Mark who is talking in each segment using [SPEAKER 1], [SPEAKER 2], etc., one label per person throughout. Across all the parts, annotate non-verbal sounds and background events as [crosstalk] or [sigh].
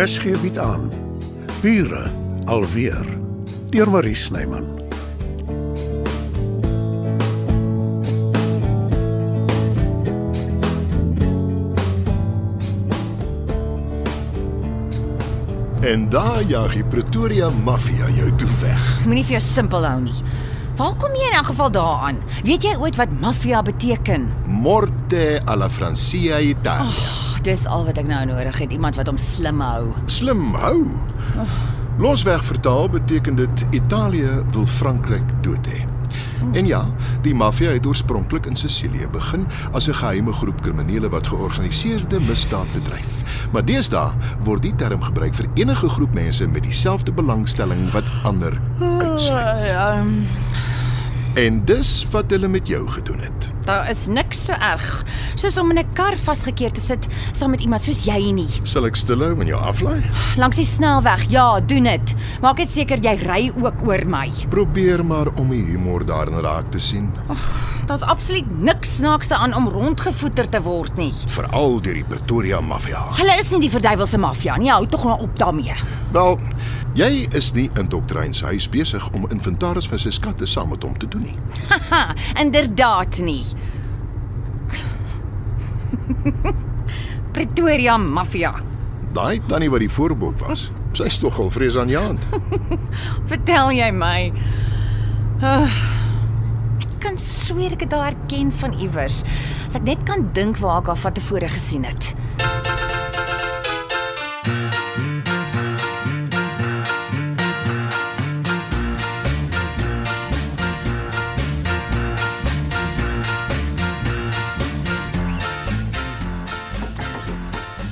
[SPEAKER 1] Res gee Er bied aan. Bure alweer deur Marie Snyman.
[SPEAKER 2] En daar jaag die Pretoria maffia jou toe weg.
[SPEAKER 3] Moenie vir jou simpel hou nie. Waar kom jy in elk geval daaraan? Weet jy ooit wat maffia beteken?
[SPEAKER 2] Morte alla Francia Italia.
[SPEAKER 3] Oh, dis al wat ek nou nodig het, iemand wat hom slim hou.
[SPEAKER 2] Slim hou. Losweg vertaal beteken dit Italië wil Frankryk dood hê. En ja, die maffia het oorspronklik in Sicilië begin as 'n geheime groep kriminele wat georganiseerde misdaad bedryf. Maar deesdae word die term gebruik vir enige groep mense met dieselfde belangstelling wat ander uitsluit.
[SPEAKER 3] Ehm,
[SPEAKER 2] En dis wat hulle met jou gedoen het.
[SPEAKER 3] daar is niks so erg soos om in 'n kar vasgekeer te sit saam met iemand soos jy nie.
[SPEAKER 2] Sal ek stilhou en jou aflaai?
[SPEAKER 3] Langs die snelweg. Ja, doen dit. Maak net seker jy ry ook oor my.
[SPEAKER 2] Probeer maar om die humor daarin raak te sien,
[SPEAKER 3] Daar's absoluut niks snaaks daaraan om rondgevoeter te word nie.
[SPEAKER 2] veral deur die Pretoria maffia.
[SPEAKER 3] Hulle is nie die verduiwelse maffia nie. Hou tog nou op daarmee.
[SPEAKER 2] Wel, jy is nie in Doktryn se huis besig om inventaris van sy skatte saam met hom te doen nie.
[SPEAKER 3] Ha, inderdaad nie. [laughs] Pretoria maffia.
[SPEAKER 2] Daai tannie wat die voorbok was, sy's tog al vreesaanjaend.
[SPEAKER 3] Vertel jy my. Uh, ek kan sweer ek het haar herken van iewers. As ek net kan dink waar ek haar van tevore gesien het.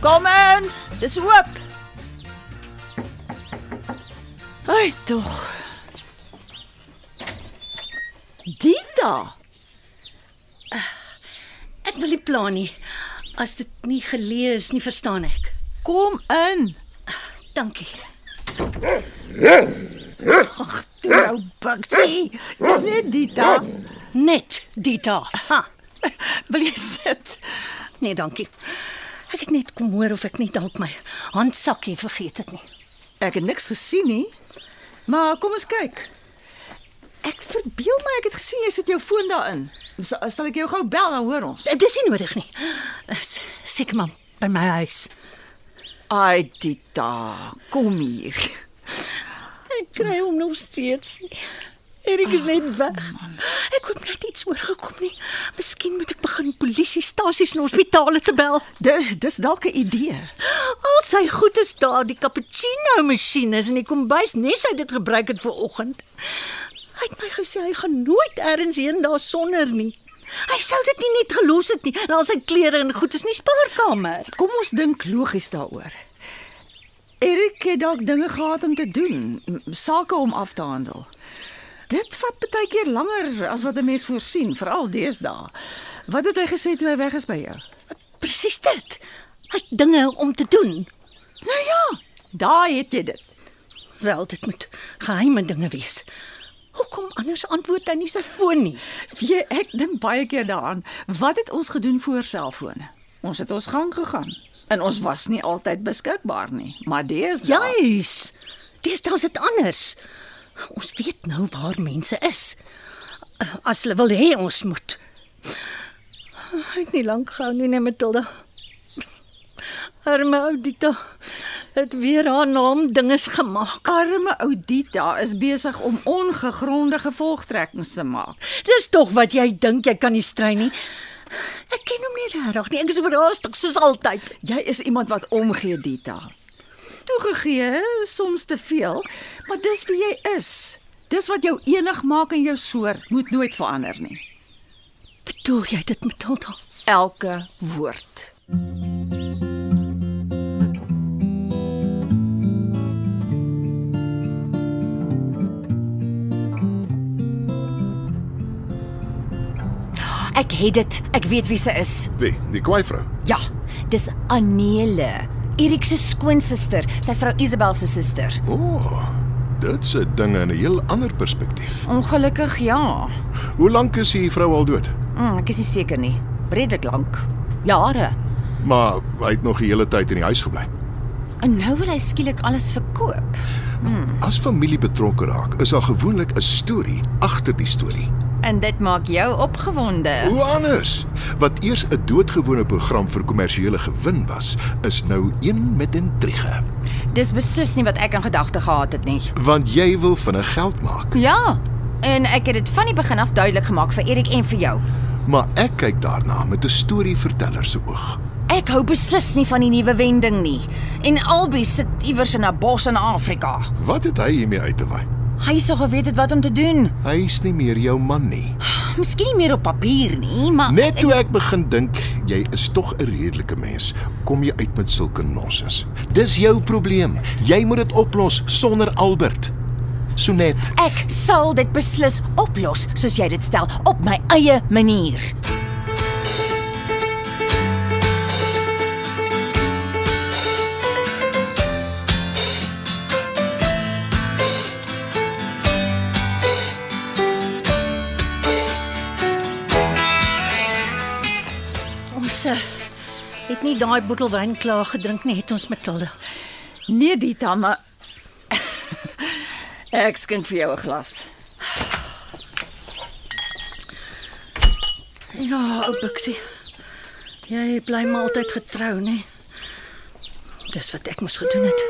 [SPEAKER 4] Kom in. Dis oop. Ai tog. Dita.
[SPEAKER 5] Ek wil nie plan nie. As dit nie gelees nie, verstaan ek.
[SPEAKER 4] Kom in.
[SPEAKER 5] Dankie.
[SPEAKER 4] Toe nou buksie. Dis net Dita.
[SPEAKER 5] Net Dita. Ha.
[SPEAKER 4] Wil jy sit?
[SPEAKER 5] Nee, dankie. Ek het net kom hoor of ek nie dalk my handsakkie vergeet het nie.
[SPEAKER 4] Ek het niks gesien nie. Maar kom ons kyk. Ek verbeel my ek het gesien jy sit jou foon daarin. Sa- Sal ek jou gou bel dan hoor ons.
[SPEAKER 5] Eh, Dis nie nodig nie. Is seker maar by my huis.
[SPEAKER 4] Ai Dita, kom hier.
[SPEAKER 5] Ek kry hom nog steeds nie. Erik is net weg. Oh, Ek hoop net iets oorgekom nie. Miskien moet ek begin polisiestasies en hospitale te bel.
[SPEAKER 4] Dis dis dalk 'n idee.
[SPEAKER 5] Al sy goed is daar, die cappuccino masjien is in die kombuis, nes hy dit gebruik het ver oggend. Hy het my gesê hy gaan nooit ergens heen daar sonder nie. Hy sou dit nie net gelos het nie. En al sy klere en goed is nie spaarkamer.
[SPEAKER 4] Kom ons dink logies daaroor. Erik het dalk dinge gehad om te doen, m- sake om af te handel. Dit vat baie keer langer as wat 'n mens voorsien, veral deesdae. Wat het hy gesê toe hy weg is by jou?
[SPEAKER 5] Presies dit. Hy het dinge om te doen.
[SPEAKER 4] Nou ja, daar het jy dit.
[SPEAKER 5] Wel, dit moet geheime dinge wees. Ja. Hoekom anders antwoord hy nie sy foon nie?
[SPEAKER 4] Jy ek dink baie keer daaraan. Wat het ons gedoen voor selfone? Ons het ons gang gegaan en ons was nie altyd beskikbaar nie, maar deesdae
[SPEAKER 5] Juis. Deesdae is dit anders. Ons weet nou waar mense is. As hulle wil hê ons moet. Hy het nie lank gehou nie, nee Matilda. Arme Audita het weer haar naam dinges gemaak.
[SPEAKER 4] Arme ou Dita is besig om ongegronde gevolgtrekkings te maak.
[SPEAKER 5] Dis tog wat jy dink jy kan nie strei nie. Ek ken hom nie regtig nie. Ek is oorhaastig soos altyd.
[SPEAKER 4] Jy is iemand wat omgee, Dita. Toegegee, soms te veel, maar dis wie jy is. Dis wat jou enig maak en jou soort moet nooit verander nie.
[SPEAKER 5] Bedoel jy dit, Matilda?
[SPEAKER 4] Elke woord.
[SPEAKER 3] Ek het dit. Ek weet wie sy is.
[SPEAKER 2] Wie? Die kwaai vrou.
[SPEAKER 3] Ja, dis Anele, Erik se skoonsister, sy vrou Isabel se suster.
[SPEAKER 2] O, oh, dit se dinge in 'n heel ander perspektief.
[SPEAKER 3] Ongelukkig ja.
[SPEAKER 2] Hoe lank is hierdie vrou al dood?
[SPEAKER 3] Mm, ek is nie seker nie. Redelik lank. Jare.
[SPEAKER 2] Maar hy het nog die hele tyd in die huis gebly.
[SPEAKER 3] En nou wil hy skielik alles verkoop.
[SPEAKER 2] As familie betrokke raak, is daar gewoonlik 'n storie agter die storie.
[SPEAKER 3] En dit maak jou opgewonde.
[SPEAKER 2] Hoe anders? Wat eers 'n doodgewone program vir kommersiële gewin was, is nou een met intrige,
[SPEAKER 3] Dis beslis nie wat ek in gedagte gehad het nie.
[SPEAKER 2] want jy wil vinnig geld maak.
[SPEAKER 3] Ja, en ek het dit van die begin af duidelik gemaak vir Erik en vir jou.
[SPEAKER 2] Maar ek kyk daarna met 'n storieverteller se oog.
[SPEAKER 3] Ek hou beslis nie van die nuwe wending nie. En Albie sit iewers in 'n bos in Afrika.
[SPEAKER 2] Wat het hy hiermee uit te wy?
[SPEAKER 3] Hy sou geweet het wat om te doen.
[SPEAKER 2] Hy's nie meer jou man nie.
[SPEAKER 3] Miskien nie meer op papier nie, maar
[SPEAKER 2] Net toe ek begin dink jy is tog 'n redelike mens, kom jy uit met sulke nonsens. Dis jou probleem. Jy moet dit oplos sonder Albert. Sonet.
[SPEAKER 3] ek sal dit beslis oplos soos jy dit stel op my eie manier.
[SPEAKER 5] Ons eh, het nie daai bottel wyn klaar gedrink nie, het ons Matilda.
[SPEAKER 4] Nee, dit dan maar [laughs] Ek skink vir jou 'n glas.
[SPEAKER 5] Ja, ou Bixie. Jy bly maar altyd getrou, nê? Dis wat ek moes gedoen het.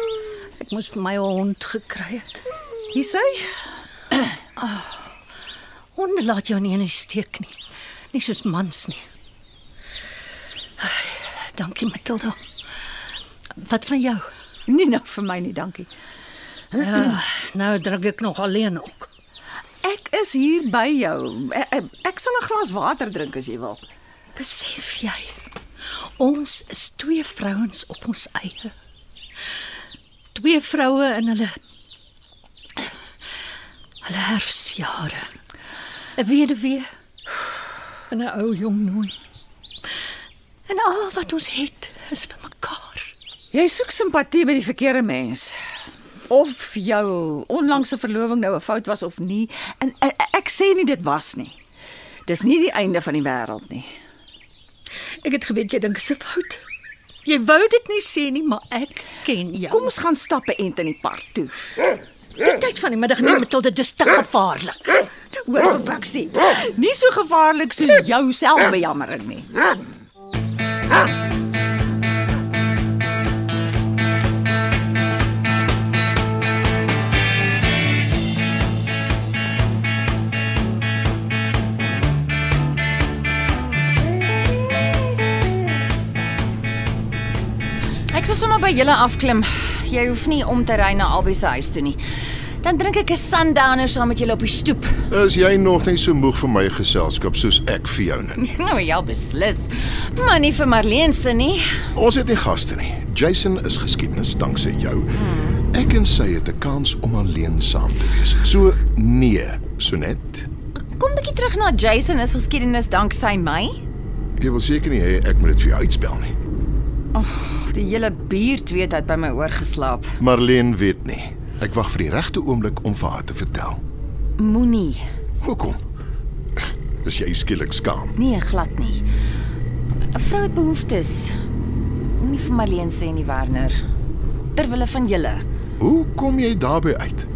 [SPEAKER 5] Ek moes vir my hond gekry het.
[SPEAKER 4] Hier sê,
[SPEAKER 5] Honde laat jou nie in die steek nie. Nie soos mans nie. Ai, Dankie Matilda. Wat van jou?
[SPEAKER 4] [laughs] nie nou vir my nie, dankie.
[SPEAKER 5] Nou drink ek nog alleen ook.
[SPEAKER 4] Ek is hier by jou. Ek, ek, ek sal 'n glas water drink as jy wil.
[SPEAKER 5] Besef jy? Ons is twee vrouens op ons eie. Twee vroue in hulle hulle herfsjare. 'n Weduwee en 'n ou jong nooi. En al wat ons het is vir mekaar.
[SPEAKER 4] Jy soek simpatie by die verkeerde mens. Of jou onlangse verloving nou 'n fout was of nie. En ek, ek sê nie dit was nie. Dis nie die einde van die wêreld nie.
[SPEAKER 5] Ek het geweet jy dink dit is 'n fout. Jy wou dit nie sê nie, maar ek ken jou.
[SPEAKER 4] Kom ons gaan stappe ent in die park toe.
[SPEAKER 5] die tyd van die middag nie, Matilda, dis te gevaarlik.
[SPEAKER 4] Hoor vir Baksie. Nie so gevaarlik soos jou selfbejammering nie.
[SPEAKER 3] Ek sou sommer by julle afklim. Jy hoef nie om te ry na Albie se huis toe nie. Dan drink ek 'n sundowner saam met julle op die stoep.
[SPEAKER 2] Is jy nog nie so moeg vir my geselskap soos ek vir jou nie?
[SPEAKER 3] Nou ja, beslis. Maar nie vir Marlene se nie.
[SPEAKER 2] Ons het nie gaste nie. Jason is geskiedenis danksy jou. Ek en sy het 'n kans om alleen saam te wees. So nee, Sonet.
[SPEAKER 3] Kom bietjie terug na Jason is geskiedenis danksy my.
[SPEAKER 2] Jy wil seker nie hê ek moet dit vir jou uitspel nie.
[SPEAKER 3] Die hele buurt weet hy het by my oor geslaap.
[SPEAKER 2] Marlene weet nie. Ek wag vir die regte oomblik om vir haar te vertel.
[SPEAKER 3] Moenie.
[SPEAKER 2] Hoekom? [laughs] Is jy skielik skaam?
[SPEAKER 3] Nee, glad nie. 'n Vrou het behoeftes. Moenie vir Marlene sê nie, Werner. Ter wille van julle.
[SPEAKER 2] Hoe kom jy daarby uit?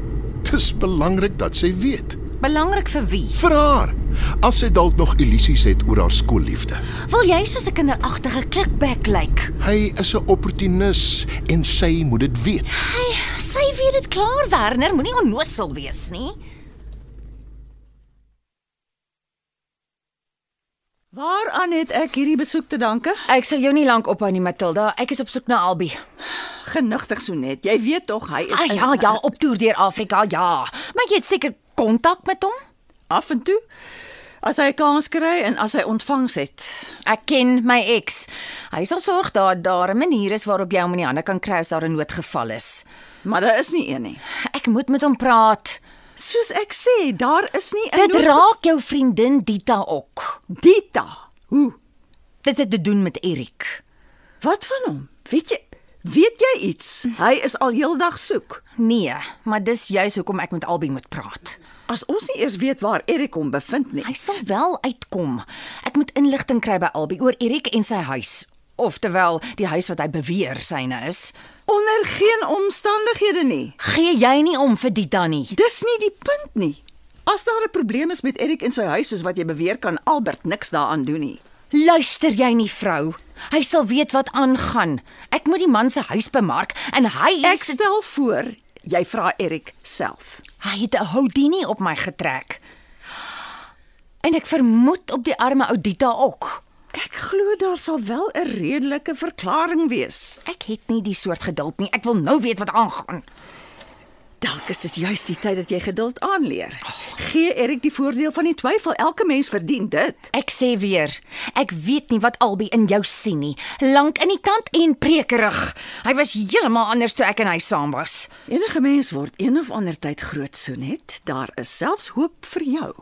[SPEAKER 2] Dis belangrik dat sy weet.
[SPEAKER 3] Belangrik vir wie?
[SPEAKER 2] Vir haar. As sy dalk nog illusies het oor haar skoolliefde.
[SPEAKER 3] Wil jy soos 'n kinderagtige klikbek lyk? Like?
[SPEAKER 2] Hy is 'n opportunis en sy moet dit weet.
[SPEAKER 3] Hy, sy weet dit klaar, Werner, moenie onnosel wees nie.
[SPEAKER 4] Waaraan het ek hierdie besoek te danke?
[SPEAKER 3] Ek sal jou nie lank ophou nie, Matilda. Ek is op soek na Albie.
[SPEAKER 4] Genigtig so net. Jy weet tog hy is
[SPEAKER 3] Ah
[SPEAKER 4] in-
[SPEAKER 3] ja, ja, op toer deur Afrika, ja. Maar jy het seker kontak met hom?
[SPEAKER 4] af en toe as hy 'n kans kry en as hy ontvangs het.
[SPEAKER 3] Ek ken my ex. Hy sal sorg dat daar 'n manier is waarop jy hom in die hande kan kry as daar 'n noodgeval is.
[SPEAKER 4] Maar daar is nie een nie.
[SPEAKER 3] Ek moet met hom praat.
[SPEAKER 4] Soos ek sê, daar is nie 'n
[SPEAKER 3] Dit
[SPEAKER 4] nood-
[SPEAKER 3] raak jou vriendin Dita ook.
[SPEAKER 4] Dita. Hoe?
[SPEAKER 3] Dit het te doen met Erik.
[SPEAKER 4] Wat van hom? Weet jy weet jy iets? Hy is al heeldag soek.
[SPEAKER 3] Nee, maar dis juis hoekom ek met Albie moet praat.
[SPEAKER 4] As ons nie eers weet waar Erik hom bevind nie.
[SPEAKER 3] Hy sal wel uitkom. Ek moet inligting kry by Albie oor Erik en sy huis, oftewel die huis wat hy beweer syne is.
[SPEAKER 4] Onder geen omstandighede nie.
[SPEAKER 3] Gee jy nie om vir die tannie?
[SPEAKER 4] Dis nie die punt nie. As daar 'n probleem is met Erik en sy huis soos wat jy beweer, kan Albert niks daaraan doen nie.
[SPEAKER 3] Luister jy nie, vrou? Hy sal weet wat aangaan. Ek moet die man se huis bemark en hy
[SPEAKER 4] Ek
[SPEAKER 3] is
[SPEAKER 4] stel voor jy vra Erik self.
[SPEAKER 3] hy het 'n houdini op my getrek. En ek vermoed op die arme Oudita ook.
[SPEAKER 4] Ek glo daar sal wel 'n redelike verklaring wees.
[SPEAKER 3] Ek het nie die soort geduld nie. Ek wil nou weet wat aangaan.
[SPEAKER 4] Dalk is dit juis die tyd dat jy geduld aanleer. Gee Erik die voordeel van die twyfel. Elke mens verdien dit.
[SPEAKER 3] Ek sê weer, ek weet nie wat Albie in jou sien nie. Lank in die tand en prekerig. Hy was heeltemal anders toe ek en hy saam was.
[SPEAKER 4] Enige mens word een of ander tyd groot, Sonet. Daar is selfs hoop vir jou.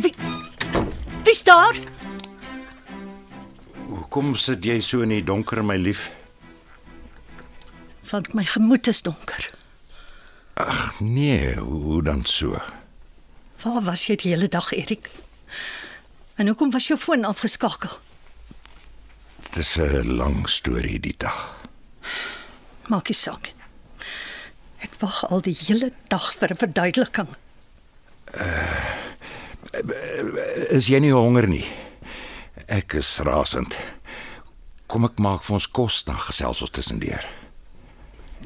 [SPEAKER 5] Wie Wie's daar?
[SPEAKER 6] Hoekom sit jy so in die donker, my lief?
[SPEAKER 5] Want my gemoed is donker.
[SPEAKER 6] Nee, hoe hoe dan so?
[SPEAKER 5] Waar was jy die hele dag, Erik? En hoekom was jou foon afgeskakel?
[SPEAKER 6] Dis 'n lang storie die dag.
[SPEAKER 5] Maak nie saak. nie. Ek wag al die hele dag vir 'n verduideliking.
[SPEAKER 6] Is jy nie honger nie? Ek is rasend. Kom ek maak vir ons kos dan gesels ons tussendeur.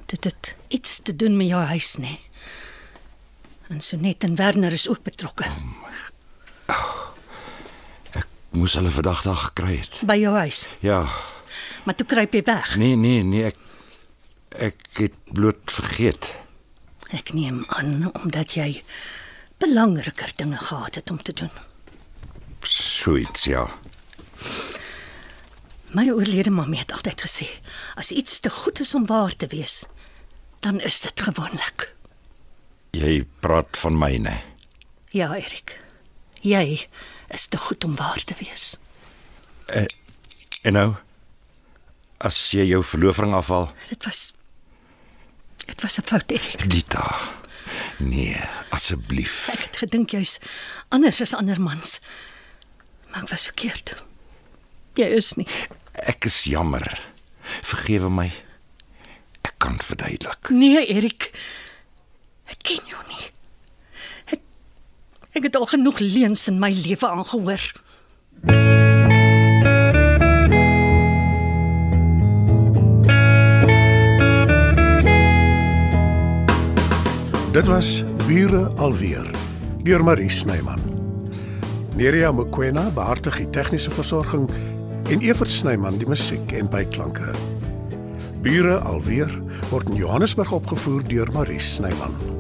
[SPEAKER 5] Dit het iets te doen met jou huis, nê? En Sonet en Werner is ook betrokke
[SPEAKER 6] Moes hulle vandag dag gekry het.
[SPEAKER 5] by jou huis,
[SPEAKER 6] Ja.
[SPEAKER 5] maar toe kruip jy weg.
[SPEAKER 6] Nee, nee, nee, ek ek het bloot vergeet.
[SPEAKER 5] Ek neem aan omdat jy belangriker dinge gehad het om te doen.
[SPEAKER 6] So iets, ja.
[SPEAKER 5] My oorlede mamma het altyd gesê, as iets te goed is om waar te wees, dan is dit gewoonlik.
[SPEAKER 6] Jy praat van myne.
[SPEAKER 5] Ja, Erik. Jy is te goed om waar te wees.
[SPEAKER 6] En nou as jy jou verloving afhaal,
[SPEAKER 5] Dit was Dit was 'n fout, Erik.
[SPEAKER 6] Dita. Nee, asseblief.
[SPEAKER 5] Ek het gedink jy's anders as ander mans. Maar ek was verkeerd. Jy is nie.
[SPEAKER 6] Ek is jammer. Vergewe my. Ek kan verduidelik.
[SPEAKER 5] Nee, Erik. Ek ken jou nie. Ek ek het al genoeg leuns in my lewe aangehoor.
[SPEAKER 1] Dit was Bure alweer deur Marie Snyman. Nerea Mkwena behartig die tegniese versorging en Evert Snyman die musiek en byklanke. Bure alweer word in Johannesburg opgevoer deur Marie Snyman.